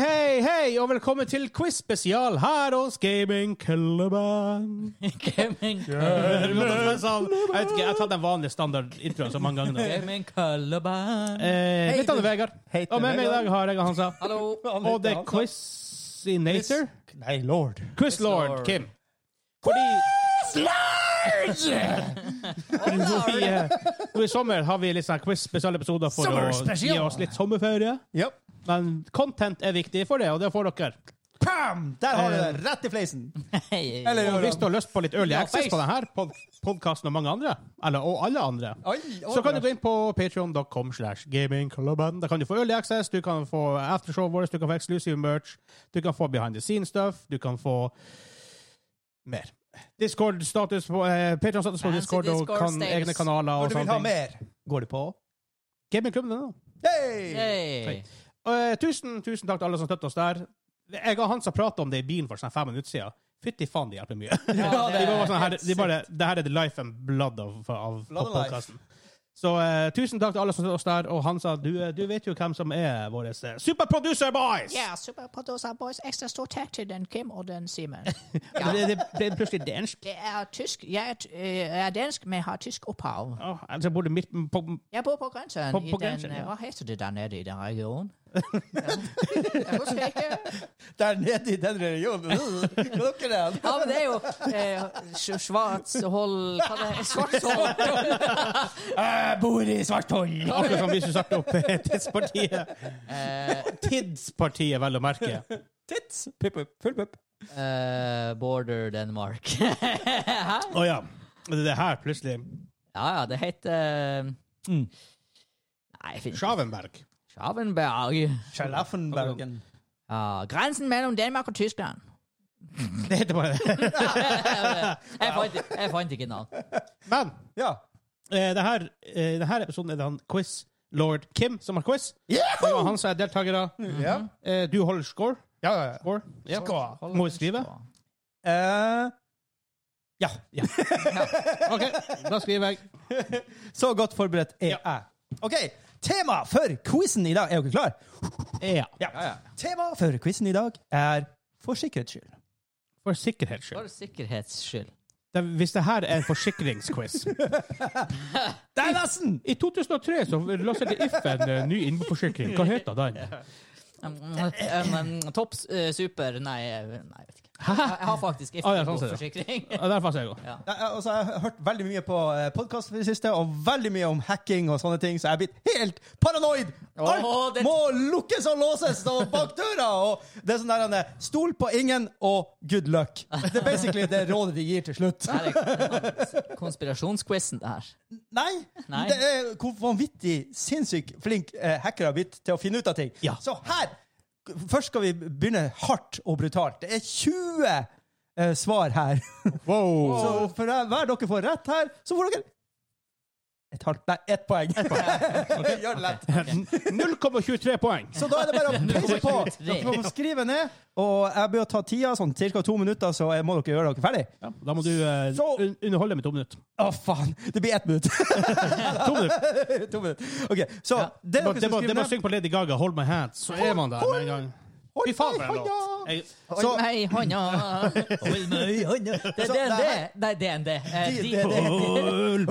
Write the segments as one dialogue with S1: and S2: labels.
S1: Hei, og velkommen til quiz-spesial her hos Gaming Kølleband.
S2: Gaming
S1: Jeg vet ikke, sånn? jeg har tatt den vanlige standardintroen så mange ganger nå.
S2: Gaming Kølleband.
S1: Eh, mitt navn er Vegard,
S3: Hei til
S1: og med meg i
S3: Vegard.
S1: dag har jeg Hansa.
S2: Hallo.
S1: Og det er Quizinator.
S3: Nei, lord.
S1: Quizlord,
S2: Quizlord.
S1: Kim. Fordi vi, eh, nå i sommer har vi litt sånn quiz-spesialepisoder for å
S3: Sommerspesial.
S1: gi oss litt sommerferie.
S3: Ja.
S1: Men content er viktig for det, og det får dere.
S3: Pam! Der har du det. Rett i fleisen.
S2: Hei.
S3: Eller
S1: Og
S3: gjør
S1: hvis du
S3: han.
S1: har lyst på litt early
S3: Ja,
S1: access
S3: face.
S1: på denne podkasten og mange andre, eller, og alle andre,
S3: Oi, oi,
S1: så kan du
S3: oi.
S1: gå inn på patreon.com slash gamingklubben. Da kan du få early access, du kan få aftershowet vårt, du kan få exclusive merch, du kan få behind the scenes stuff, du kan få mer. Discord-status på eh, Patreon-status på
S2: Fancy
S1: Discord, og
S2: Discord
S1: kan,
S2: status.
S1: egne kanaler
S3: Når
S1: og
S3: du vil
S1: sånne
S3: ha
S1: ting.
S3: mer.
S1: Går du på gamingklubben nå?
S3: Hey!
S2: Hei.
S1: Eh, tusen, tusen takk til alle som støtter oss der. Jeg og Hans har pratet om det i bilen for sånn fem minutter siden. Fytti faen, det hjelper mye.
S2: Ja,
S1: de bare
S2: det
S1: var
S2: er
S1: sånn her, de bare, det her er the life and blood of, av
S3: Blood and
S1: podkasten. Så eh, tusen takk til alle som støtter oss der. Og Hansa, du, eh, du vet jo hvem som er våre eh, superproducer boys!
S4: Ja, Superproducer Boys. Ekstra stor takk til den Kim og den Simen.
S1: Ja. Det, det ble plutselig dansk.
S4: Det er tysk. Jeg er, t- eh, jeg er dansk, men har tysk opphav.
S1: Åh, altså, jeg bodde midt på
S4: Jeg bor på Grønnsøen.
S1: På-
S4: i
S1: på
S4: den,
S1: Grønnsøen, ja.
S4: Hva heter det der nede i den regionen? Ja. Jeg husker ikke.
S3: Der nede i den regionen. Hva dere er
S2: Ja, men det er jo eh,
S4: øh,
S2: s- Svartshold Hva det er Svartshold?
S3: Jeg bor i Svartholm.
S1: Akkurat som hvis du startet opp eh, Tidspartiet.
S2: Eh,
S1: Tidspartiet, vel å merke.
S3: Tits. Pup, pup, full pup.
S2: eh,
S4: Øh,
S2: border Denmark. Hæ?
S1: Å ja. Det er det her, plutselig.
S2: Ja, ja, det
S4: øh,
S2: heter mm. Nei, jeg finner
S1: Schavenberg.
S2: Schavenberg.
S3: Schlaffenbergen.
S2: Ja,
S4: Grensen mellom Danmark og Tyskland.
S1: Det heter bare det.
S2: jeg, fant, jeg fant ikke navn.
S1: Men
S3: Ja.
S1: eh, det her, eh, det her episoden er det han quiz lord Kim som har quiz. Det var han som er deltakere.
S3: Ja.
S1: Eh, du holder score.
S3: Ja, ja, ja.
S1: score.
S2: Sånn.
S1: Ja.
S3: Skål.
S1: Må vi skrive?
S3: Eh, ja.
S1: OK, da skriver jeg.
S3: Så godt forberedt er
S1: Ja.
S3: jeg. OK. Tema for quizen i dag. Er dere klar?
S1: Ja.
S3: Tema for quizen i dag er for sikkerhets skyld.
S1: For sikkerhets
S2: For
S1: skyld.
S2: sikkerhets skyld.
S1: Det, hvis det her er en forsikringsquiz
S3: Det er nesten!
S1: I 2003 så lanserte If en eh, ny innboforsikring. Hva heter den?
S2: Um, um, um, Topp eh, super Nei, eh, nei, jeg vet ikke. Jeg, jeg har faktisk
S1: Ah, ja, sånn ser det.
S2: forsikring.
S1: Ja, Der fant jeg jo.
S2: Ja.
S3: Jeg, jeg- altså, jeg har hørt veldig mye på podkast i det siste, og veldig mye om hacking og sånne ting, så jeg er blitt helt paranoid! Alt
S2: Åh, det-
S3: må lukkes og låses og bak døra! Og det er sånn der han er, Stol på ingen, og good luck. Det er basically det rådet de gir til slutt.
S2: Det er kon- konspirasjonsquizen, det her.
S3: Nei!
S2: Nei.
S3: Det er hvor vanvittig sinnssykt flink eh, hackere har blitt til å finne ut av ting.
S1: Ja.
S3: Så her Først skal vi begynne hardt og brutalt. Det er 20 eh, svar her.
S1: Wow.
S3: Så for hver dere får rett her, så får dere et halvt Nei, ett poeng. Gjør det lett.
S1: 0,23 poeng.
S3: Så da er det bare å peise på. Dere må skrive ned. Og jeg bør ta tida, sånn ca. to minutter, så jeg må dere gjøre dere ferdig.
S1: Ja, da må du eh,
S3: Så-
S1: un underholde med to minutter.
S3: Å, faen! Det blir ett minutt.
S1: To minutter.
S3: to minutter. OK, så
S2: Ja.
S3: det
S1: Det må, det
S3: dere skal
S1: må, det
S3: skrive
S1: må
S3: ned
S1: synge på Lady Gaga 'Hold My Hand', så er man der med en gang. Fy faen, for en
S3: Hold meg i
S1: låt!
S3: hånda.
S1: Jeg,
S2: Hold
S3: Så-
S2: meg i hånda. Hold meg i hånda. Det er
S3: Så
S2: DND.
S3: det her-
S2: Nei, DND. Eh,
S3: Det-
S2: de-
S3: det- det-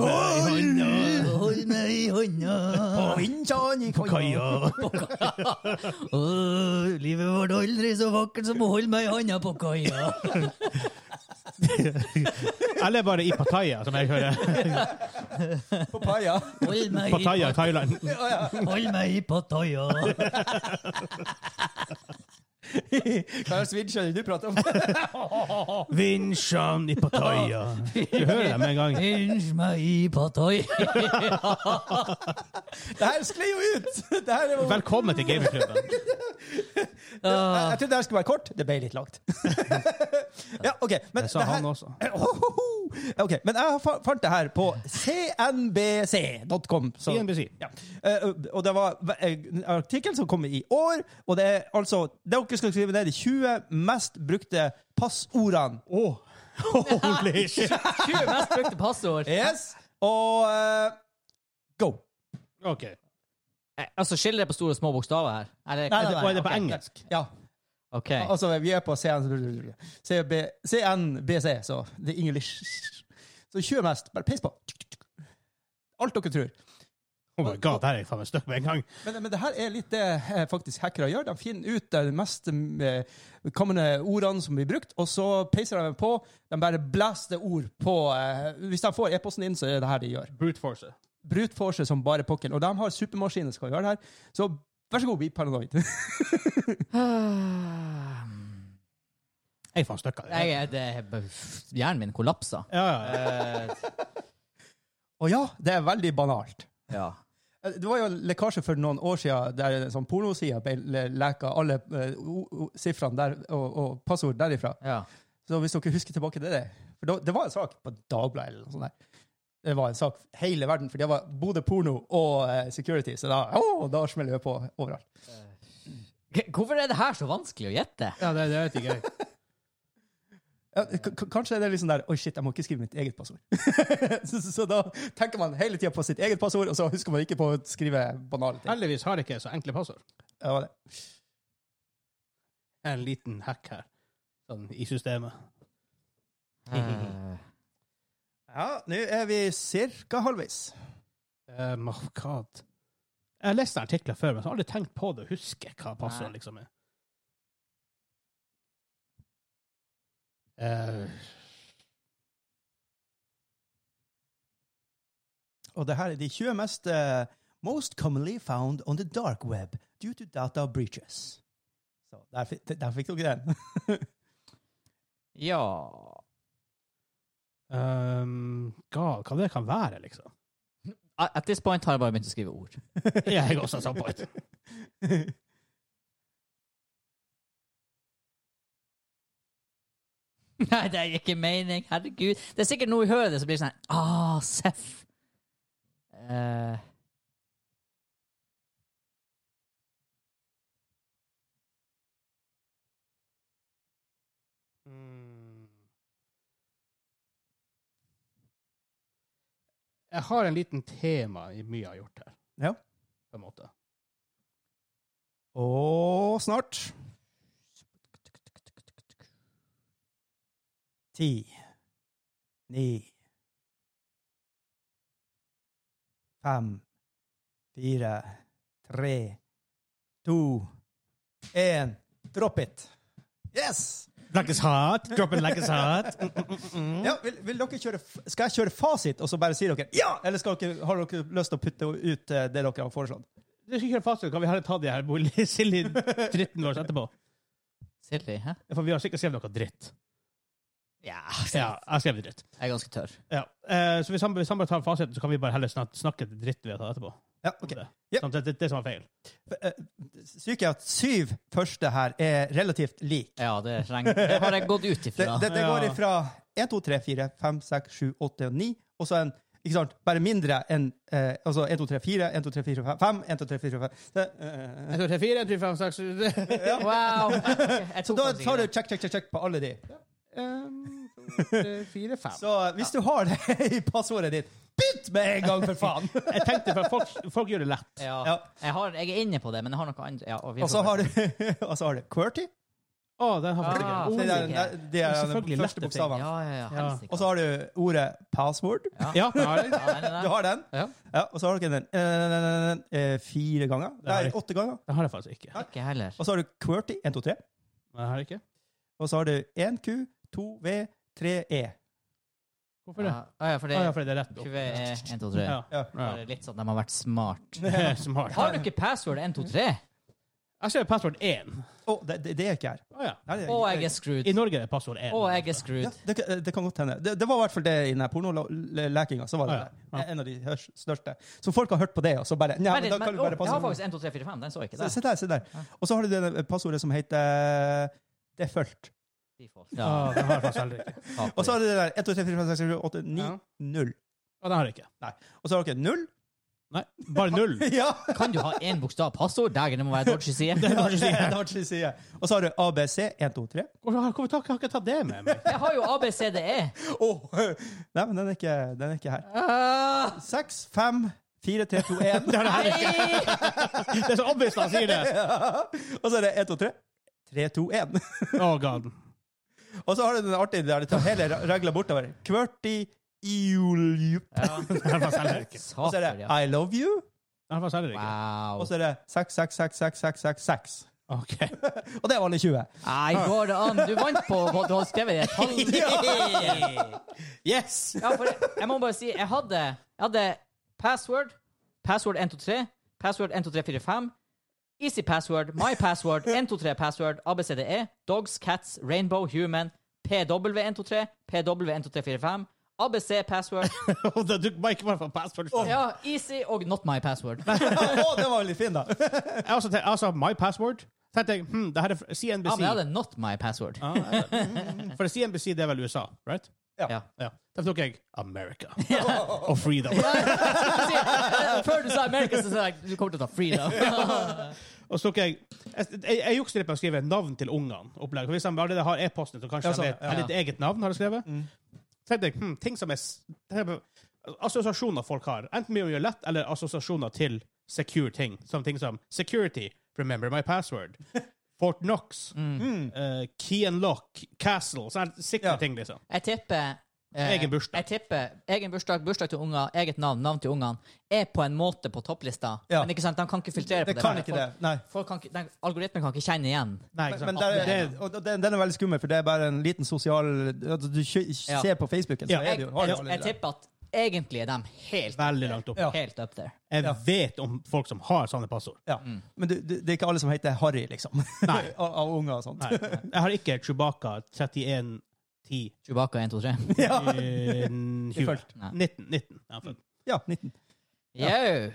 S1: Hold meg i hånda
S2: Hold meg i hånda.
S1: på kaia.
S2: Åh, livet vårt aldri så vakkert som å holde meg i hånda på kaia.
S1: Eller bare i Pattaya, som jeg hører.
S3: På paia.
S2: Hold meg i,
S1: Pattaya i Thailand.
S2: hold meg i Pattaya.
S3: Hva slags vidd skjønner du prater om?
S1: Vinsjan i Pattaya. Du hører det med en gang.
S2: Unnskyld meg i Pattaya.
S3: Det her skled jo ut! Det her er jo... Jeg,
S1: Velkommen til gamingklubben.
S3: jeg trodde det her skulle være kort. Det ble litt langt. ja, OK. Men
S1: Det sa
S3: det her-
S1: han også.
S3: Ohoho! Ok, men jeg fa- fant det her på cnbc.com. så-
S1: CNBC.
S3: Ja. Eh, Og det var en artikkel som kom i år, og det er altså det Dere skal skrive ned de 20 mest brukte passordene.
S1: Åh, Holy shit.
S2: 20 mest brukte passord.
S3: Yes! Og eh, go!
S1: OK.
S2: Eh, Altså, skiller det på store og små bokstaver her? Er det,
S3: Nei, nei,
S1: Og er det på
S2: Ok.
S1: engelsk?
S3: Ja.
S2: OK.
S3: Altså, vi er på CN, CB, CNBC, så det er English. Så kjør mest. Bare peis på. Alt dere tror.
S1: Oh my god, der er jeg faen meg stuck med en gang.
S3: Men, men det her er litt det eh, faktisk hackere gjør. De finner ut de mest eh, kommende ordene som blir brukt, og så peiser de på. De bare blaster ord på eh, Hvis de får e-posten inn, så er det her de gjør.
S1: Brute force.
S3: Brutforce som bare pokken. Og de har supermaskiner som kan gjøre det her. Så vær så god, bli paranoid.
S1: Jeg er faen stuck av det.
S2: Jeg, er- det, er bare- hjernen min kollapsa.
S1: Ja, ja, ja.
S2: Eh,
S3: og ja, det er veldig banalt.
S2: ja.
S3: Eh, Det var jo en lekkasje for noen år siden der en sånn pornoside ble le- leka alle eh, o- o- sifrene der, og, og passord derifra.
S2: ja.
S3: Så hvis dere husker tilbake til det For da, det var en sak på Dagbladet eller noe sånt. der. Det var en sak for hele verden, for det var både porno og eh, security. Så da, å, da smeller det på overalt.
S2: K- Hvorfor er det her så vanskelig å gjette?
S1: ja det, det vet ikke jeg.
S3: Ja, k- k- kanskje det er liksom der Oi, shit, jeg må ikke skrive mitt eget passord. så, så, så da tenker man hele tida på sitt eget passord, og så husker man ikke på å skrive banale ting.
S1: Heldigvis har jeg ikke så enkle passord.
S3: Det var det.
S1: En liten hack her, sånn i systemet.
S2: Eh,
S3: Ja, nå er vi cirka halvveis.
S1: Um, oh god. Jeg har lest artikler før, men så har jeg aldri tenkt på det og husker hva passordet
S2: Nei.
S1: liksom er. Eh,
S3: Og det her er de 20 mest eh, most commonly found on the dark web due to data breaches. Så der, fi- der fikk dere den.
S2: ja
S1: um, god, Eh, hva det kan være, liksom.
S2: At at this point har jeg bare begynt å skrive ord.
S1: Ja, jeg også har samme point.
S2: Nei, det er ikke mening. Herregud. Det er sikkert noe vi hører det, så blir det sånn her, Ah, seff. Eh,
S1: Mm. Jeg har en liten tema i mye jeg har gjort her,
S3: Ja.
S1: på en måte.
S3: Og snart Ti, ni, fem, fire, tre, to, én Drop it! Yes!
S1: Like it's hot, drop it like it's hot.
S3: Ja, vil, vil dere kjøre, f- skal jeg kjøre fasit, og så bare sier dere ja? Eller skal dere, har dere lyst til å putte ut eh, det dere har foreslått?
S1: Det er sikkert fast, kan vi heller ta de her bolig- silly dritten vår etterpå?
S2: Silly, hæ?
S1: For vi har sikkert skrevet noe dritt.
S2: Ja,
S1: Ja, jeg skrev dritt.
S2: altså, jeg er ganske tørr.
S1: Ja. Eh, så hvis han, hvis han bare tar fasiten, så kan vi bare heller snak snakke dritt vi har tatt etterpå.
S3: Ja, ok.
S1: Det.
S3: Yep.
S1: Sånn, det, det, det som var feil.
S3: Eh, Syke er at syv første her er relativt lik.
S2: Ja, det, trenger, det har jeg gått ut
S3: Det,
S2: ifra.
S3: det, det går
S1: Ja.
S3: ifra 1, 2, 3, 4, 5, 6, 7, 8 og 9, og så en ikke sant, bare mindre enn eh, altså 1, 2, 3, 4, 1, 2, 3, 4, 5, 1, 2, 3, 4, 5 det, eh,
S1: Jeg tror 3, 4, 3, 5, 6
S2: Wow. Jeg
S3: Så
S2: tok
S3: da
S2: faktisk
S3: tar du
S2: ikke det.
S3: check, check, check, check på alle de.
S1: 4, 5.
S3: Så eh, hvis du har det i passordet ditt, bytt med en gang, for faen!
S1: Jeg tenkte, for folk, folk gjør det lett.
S2: ja.
S3: Ja.
S2: Jeg, har, jeg er inne på det, men jeg har noe annet. Ja, og vi
S3: Og så har du, og så har du QWERTY.
S1: Å, den har folk
S2: Ah.
S1: ikke.
S3: Det
S1: Oh,
S3: er,
S2: ja.
S3: det er
S1: Selvfølgelig
S3: den første
S1: lette
S3: bokstaven.
S2: Ja, ja, ja.
S1: Ja.
S2: helsike.
S3: Og så har du ordet password.
S1: Ja, den har jeg.
S2: Ja, den er
S3: Du
S2: der.
S3: har den.
S1: Ja.
S3: Ja, og så har dere den eh, eh, fire ganger.
S1: har
S3: Nei,
S1: jeg.
S3: åtte ganger.
S1: Den har jeg faktisk ikke.
S2: Ikke heller.
S3: Og så har du QWERTY. 1, 2, 3.
S1: Den har jeg ikke.
S3: Og så har du 1Q, 2V, 3E.
S1: Hvorfor det?
S2: Ja, ja, for
S1: Å
S2: Ah, det
S1: ja, fordi det er rett opp.
S2: 20 er 1, 2, 3.
S1: Ja.
S3: Ja.
S2: Bare litt sånn at de har vært smart.
S1: ja. Smart.
S2: Har du ikke password 1, 2, 3?
S1: Jeg ser passord 1.
S3: Å, det, det, det er ikke her.
S1: Å ja.
S3: Nei, det,
S2: Å, jeg er screwed.
S1: I Norge er det passord 1.
S2: Å, jeg er
S3: ja,
S2: screwed.
S3: det, det kan godt hende. Det, det var i hvert fall det i den her pornolekinga. Så var det
S1: Ja, ja.
S3: der. En av de hørs- største. Så folk har hørt på det, og så bare Nei,
S2: Men,
S3: men
S2: men,
S3: da kan du
S2: å,
S3: bare
S2: jeg har
S3: passe
S2: faktisk 1, 2, 3, 4, 5. Den så jeg ikke
S3: Se,
S2: der.
S3: se der, se der. Og så har du det passordet som heter default.
S2: Default.
S1: Ja, Ah, den har jeg faktisk heller ikke.
S3: Og så har du det der 1, 2, 3, 4, 5, 6, 7, 8, 9,
S1: Ja.
S3: 0.
S1: Å, den har jeg ikke.
S3: Og så har dere 0.
S1: Nei, bare null.
S3: ja!
S2: Kan du ha én bokstav passord? Dagen, det må være dodgy side.
S3: Det har ikke side. Og så har du ABC 1, 2, 3.
S1: Hvorfor har, hvorfor tar- har jeg ikke tatt det med meg?
S2: Jeg har jo ABCDE.
S3: Åh, Nei, men den er ikke, den er ikke her.
S2: Uh,
S3: 6, 5, 4, 3, 2, 1.
S1: Det er, det her. det er så obvious når han sier det.
S3: Og så er det 1, 2, 3. 3, 2, 1.
S1: Oh god.
S3: Og så har du den artige der de tar hele regla bortover. QWERTY iuljup.
S1: Den var selv ikke.
S3: Og så er det
S2: ja.
S3: I love you,
S1: Den var selv ikke.
S2: Wow.
S3: og så er det 6666666.
S1: OK.
S3: Og det var alle 20.
S2: Nei, går det an? Du vant på hva du har skrevet i et halvt
S1: Yes!
S2: Ja, for jeg må bare si, jeg hadde, jeg hadde password, password 123, password 12345, easy password, my password, 123 password, abcde, E, dogs, cats, rainbow, human, pw123, pw12345, abc password,
S1: Og da dukket Mike bare på password.
S2: ja, easy og not my password.
S3: Å, den var litt fin, da.
S1: Jeg også tenkte, altså, my password. Tenkte jeg, hm, det her er fra
S2: Ja,
S1: CNBC.
S2: men jeg hadde not my password.
S1: Ah, ja. For CNBC, det er vel USA, right?
S2: Ja.
S1: Ja. Da tok jeg America og freedom.
S2: Altså, Før du sa America, så sa jeg, du kommer til å ta freedom.
S1: Og så tok jeg Jeg, jeg, jeg jukser litt på å skrive navn til ungene. opplegg. For Hvis de allerede har e-posten, så kanskje
S3: Ja, sånn,
S1: de vet
S3: ja. Mm.
S1: er det ditt eget navn. har jeg skrevet. Så tenkte jeg, hm, ting som er s- det her- Assosiasjoner folk har. Enten mye å gjøre lett, eller assosiasjoner til secure ting. Som ting som security, remember my password, Fort Knox, eh, key and lock, castle. Sånne sikre
S3: Mm. Ja.
S1: ting, liksom.
S2: Jeg tipper eh,
S1: Egen bursdag.
S2: Jeg tipper Egen bursdag, bursdag til unger, eget navn, navn til ungene er på en måte på topplista.
S3: Ja.
S2: Men ikke sant, de kan ikke filtrere på
S3: Det
S2: det.
S3: kan
S2: der.
S3: ikke
S2: folk,
S3: det. Nei.
S2: Folk kan ikke, den algoritmen kan ikke kjenne igjen.
S1: Nei,
S3: Men der,
S1: det,
S3: er- og og den, den er veldig skummel, for det er bare en liten sosial altså, Du kjø-
S2: Ja.
S3: ser på Facebooken, så
S1: Ja.
S3: er
S2: Jeg,
S3: det jo
S2: jeg,
S3: har du
S2: jeg
S3: allerede.
S2: tipper at egentlig er de helt,
S1: Veldig langt opp.
S3: Ja.
S2: helt up there.
S1: Jeg
S3: Ja.
S1: vet om folk som har sånne passord.
S3: Ja. Men du, du, det er ikke alle som heter Harry, liksom.
S1: Nei.
S3: av, av unger og sånt.
S1: Nei. Jeg har ikke Chewbacca 3110
S2: Chewbacca 1, 2, 3.
S3: Ja.
S1: eh, 20.
S3: Fulgt.
S2: Nei.
S1: 19. 19. Ja, fulgt.
S3: ja, 19.
S2: Yo!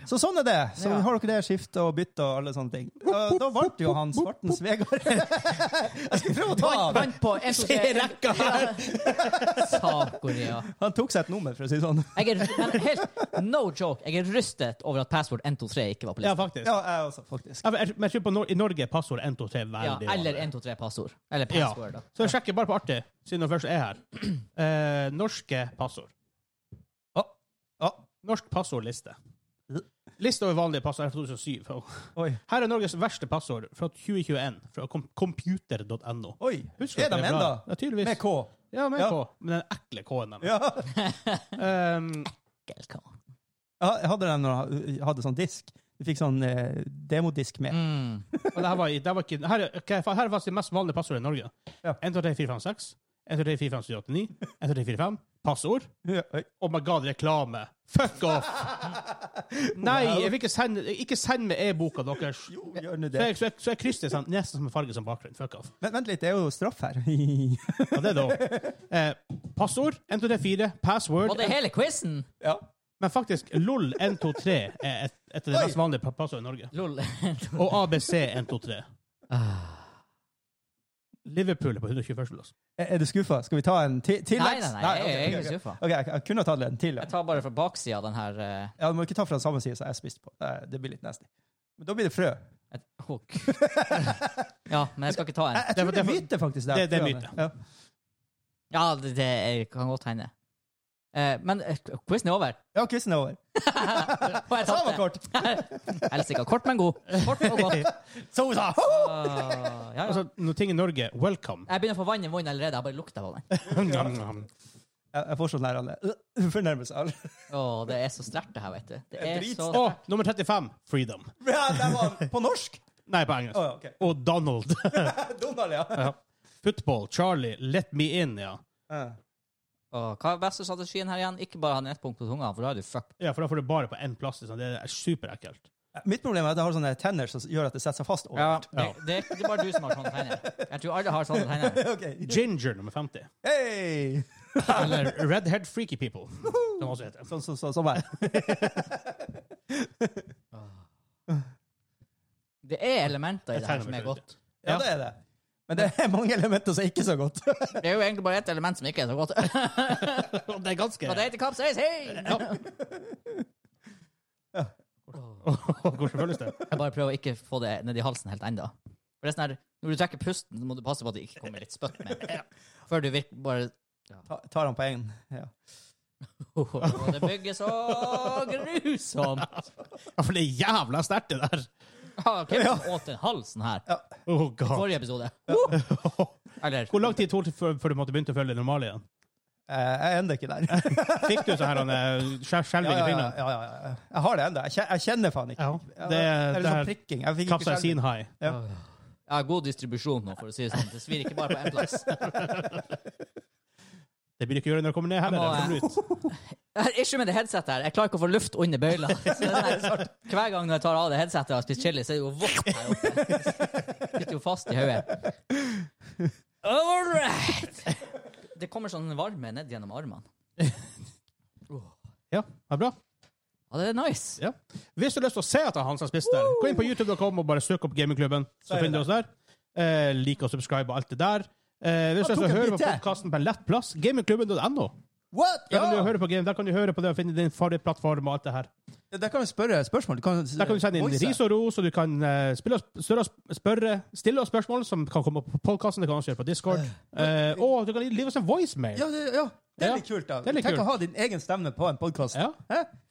S3: Så sånn er det. Så
S2: Ja.
S3: har dere det skiftet og byttet og alle sånne ting. Da, da vant jo han Svartens Vegard. Jeg skal prøve å ta
S2: Vant
S3: han.
S2: vant på 1, 2, 3. rekka her! Sa-Korea.
S3: Han tok seg et nummer, for å si det sånn.
S2: Jeg er, men helt, no joke, jeg er rystet over at password 1, 2, 3 ikke var på
S1: ja
S2: lista.
S1: faktisk.
S3: Ja, jeg også, faktisk.
S1: Ja, men jeg, men jeg tror på Nor I Norge er passordet 123 veldig
S2: Ja, eller
S1: vanlig.
S2: 1, 2, 3 passord. Eller
S1: Ja.
S2: password, da.
S1: Så jeg sjekker bare på artig, siden du først er her. Eh, norske passord.
S3: Ja.
S1: Norsk passordliste. Liste over vanlige passord er fra 2007. Og
S3: Oi.
S1: Her er Norges verste passord fra 2021, fra kom computer.no.
S3: Oi.
S1: Husker
S3: er de
S1: dere det?
S3: enda?
S1: Ja, tydeligvis.
S3: Med K.
S1: Ja, med
S3: Ja.
S1: K. Med den ekle K-en deres.
S3: Ja.
S1: Um,
S2: Welcome.
S3: Ja, Jeg hadde den når jeg hadde sånn disk. Du fikk sånn eh, demodisk med.
S2: Mm.
S1: Og det her var, i- det her var ikke Her, er- ok, faen, her er faktisk det mest vanlige passordet i Norge.
S3: Ja.
S1: 1, 2, 3, 4, 5, 6. 1, 2, 3, 4, 5, 7, 8, 9. 1, 2, 3, 4, 5. Passord.
S3: Ja, oi.
S1: Oh my god, reklame. Fuck off! Nei, jeg vil ikke sende, ikke send med e-boka deres. Så
S3: Jo, gjør nå det.
S1: jeg, så jeg, så jeg krysser sånn, nesten som en farge som bakgrunn. Fuck off.
S3: Men vent litt, det er jo straff her.
S1: Ja, det da. Eh, passord 1, 2, 3, 4. Password.
S2: Og det er hele quizen!
S3: ja.
S1: Men faktisk, LOL 1, 2, 3 er et, et av de
S3: Oi.
S1: mest vanlige pa- passordet i Norge.
S2: Lol.
S1: Og ABC 1, 2, 3. Liverpool er på 121. plass.
S3: Er er du skuffa? Skal vi ta en ti- til?
S2: Nei, nei, nei,
S3: ok,
S2: jeg er ikke
S3: ok, ok.
S2: skuffa.
S3: Ok, jeg, jeg kunne ha tatt en til. ja.
S2: Jeg tar bare fra baksida den her eh,
S3: Ja, Du må ikke ta fra samme side som jeg spiste på. Det- Det blir litt nasty. Men da blir det frø.
S2: et, Å, Gud. Ja, men jeg skal ikke ta en.
S3: Jeg, jeg
S1: Det-
S3: tror det er
S1: det-
S3: myte, faktisk. Der,
S1: det- det er
S3: frøene.
S1: myte.
S3: Ja.
S2: Ja, det, det er- kan godt hende. Eh, men eh, quizen er over.
S3: ja, quizen er over.
S2: Og jeg
S3: Ta meg
S2: tapte.
S3: kort!
S2: Helsike. Kort, men god. Kort og godt.
S3: Sosa!
S2: Ah, ja, ja.
S1: Altså, noe ting i Norge, welcome.
S2: Jeg begynner å få vann i munnen allerede. Jeg bare lukter på den.
S3: Jeg, jeg får sånn der alle øh, fornærmelse. alle.
S2: Å, det er så sterkt, det her, vet du. Det er så
S1: Og nummer 35, freedom.
S3: Ja, der var han. På norsk!
S1: Nei, på engelsk.
S3: Å, ja, ok.
S1: Og Donald.
S3: Donald, ja.
S1: Football, Charlie, let me in, ja.
S3: Ja.
S2: Å, Hva er beste strategien her igjen? Ikke bare ha den ett punkt på tunga, for da er du fucked.
S1: Ja, for da får du bare på én plass. Liksom. Det er superekkelt.
S3: Mitt problem er at jeg har sånne tenner som gjør at det setter seg fast.
S2: Ja,
S3: overalt.
S2: det, det, er ikke- det er bare du som har sånne tegner. Jeg tror alle har sånne tegner.
S3: Ok.
S1: Ginger nummer 50.
S3: Hey!
S1: Eller Redhead Freaky People, som også heter.
S3: Sånn som så, så, var jeg.
S2: Det er elementer i
S1: Jeg
S2: det her
S1: tegner
S2: som
S1: meg
S2: er
S1: for
S2: godt.
S3: Ja,
S1: Ja.
S3: det er det. Men det er mange elementer som er ikke så godt.
S2: Det er jo egentlig bare ett element som ikke er så godt.
S1: Og Det er ganske
S2: Og det heter kapsaisin!
S1: Hvordan føles det?
S2: Jeg bare prøver å ikke få det ned i halsen helt ennå. For det er sånn her, Når du trekker pusten, så må du passe på at det ikke kommer litt spytt med. Før du virker bare
S3: Ta, tar han på egen. Ja.
S2: Og det bygger så grusomt!
S1: Ja, for det er jævla sterkt, det der.
S4: Ah, Kevin åt en halv sånn her
S1: Oh, God.
S4: forrige episode. Eller
S1: Hvor lang tid tok det før, før du måtte begynne å følge det normale igjen?
S3: Eh, Jeg er ennå ikke der.
S1: Fikk du sånn her han, eh, skjel-
S3: Ja,
S1: skjelving i
S3: ja, ja,
S1: fingrene?
S3: ja, ja, ja. Jeg har det ennå. Jeg kje- Jeg kjenner faen ikke.
S1: Ja.
S3: Ja,
S1: Det,
S3: eller
S1: det
S3: sånn
S1: er
S3: prikking. Jeg fikk ikke skjelv.
S1: kapsaisin-high.
S4: Jeg har god distribusjon nå, for å si det sånn. Det svir ikke bare på én plass.
S1: Det blir ikke gjøre når det kommer ned heller.
S4: Jeg må,
S1: det kommer ut.
S2: Jeg har issue med det headsetet her. Jeg klarer ikke å få luft under bøyla. Så det er sånn- Hver gang jeg tar av det headsetet og spiser chili, så er det jo vått her oppe. Det Sitter jo fast i hodet. All right! Det kommer sånn varme ned gjennom armene.
S1: Ja, det er bra.
S2: Ja, det er nice.
S1: Ja. Hvis du har lyst til å se at det er han som har spist der, gå inn på youtube.com og bare søk opp Gamingklubben. Så
S3: Så er
S1: finner du
S3: det
S1: oss der. Eh, like og subscribe og alt det der. Eh, hvis du har lyst til
S3: Jeg
S1: å
S3: tok en
S1: høre på
S3: bit til.
S1: podkasten på en lett plass, gamingklubben.no.
S3: What?
S1: Der, kan du
S3: Ja!
S1: høre på game- der kan du høre på det og finne din favorittplattform og alt det her.
S3: Der kan vi spørre spørsmål. Du kan,
S1: Der kan du sende inn
S3: voice.
S1: ris og ros, og du kan eh, spille oss, større, spørre, stille oss spørsmål som kan komme opp på podkasten. Det kan også gjøre på Discord. Eh, og du kan gi oss en voicemail.
S3: Ja, det, ja. det
S1: Ja.
S3: er litt kult. da.
S1: Det er litt
S3: Tenk
S1: kult.
S3: å ha din egen stemme på en podkast.
S1: Ja,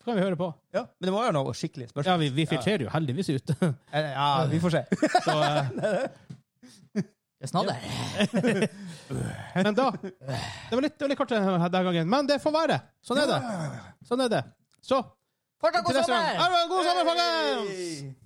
S1: så kan vi høre på.
S3: Ja. Men det må være noe skikkelig spørsmål.
S1: Ja, vi, vi filtrerer jo heldigvis ut.
S3: Eh, Ja, vi får se.
S1: Så, eh,
S4: Det snadder.
S1: Men da Det var litt, det var litt kort denne gangen, men det får være. Sånn er det. Sånn er det. Så
S2: Fortsatt
S1: til
S2: god
S1: neste gang.
S2: sommer!
S1: Ha det bra, God sommer, folkens!
S3: Hey!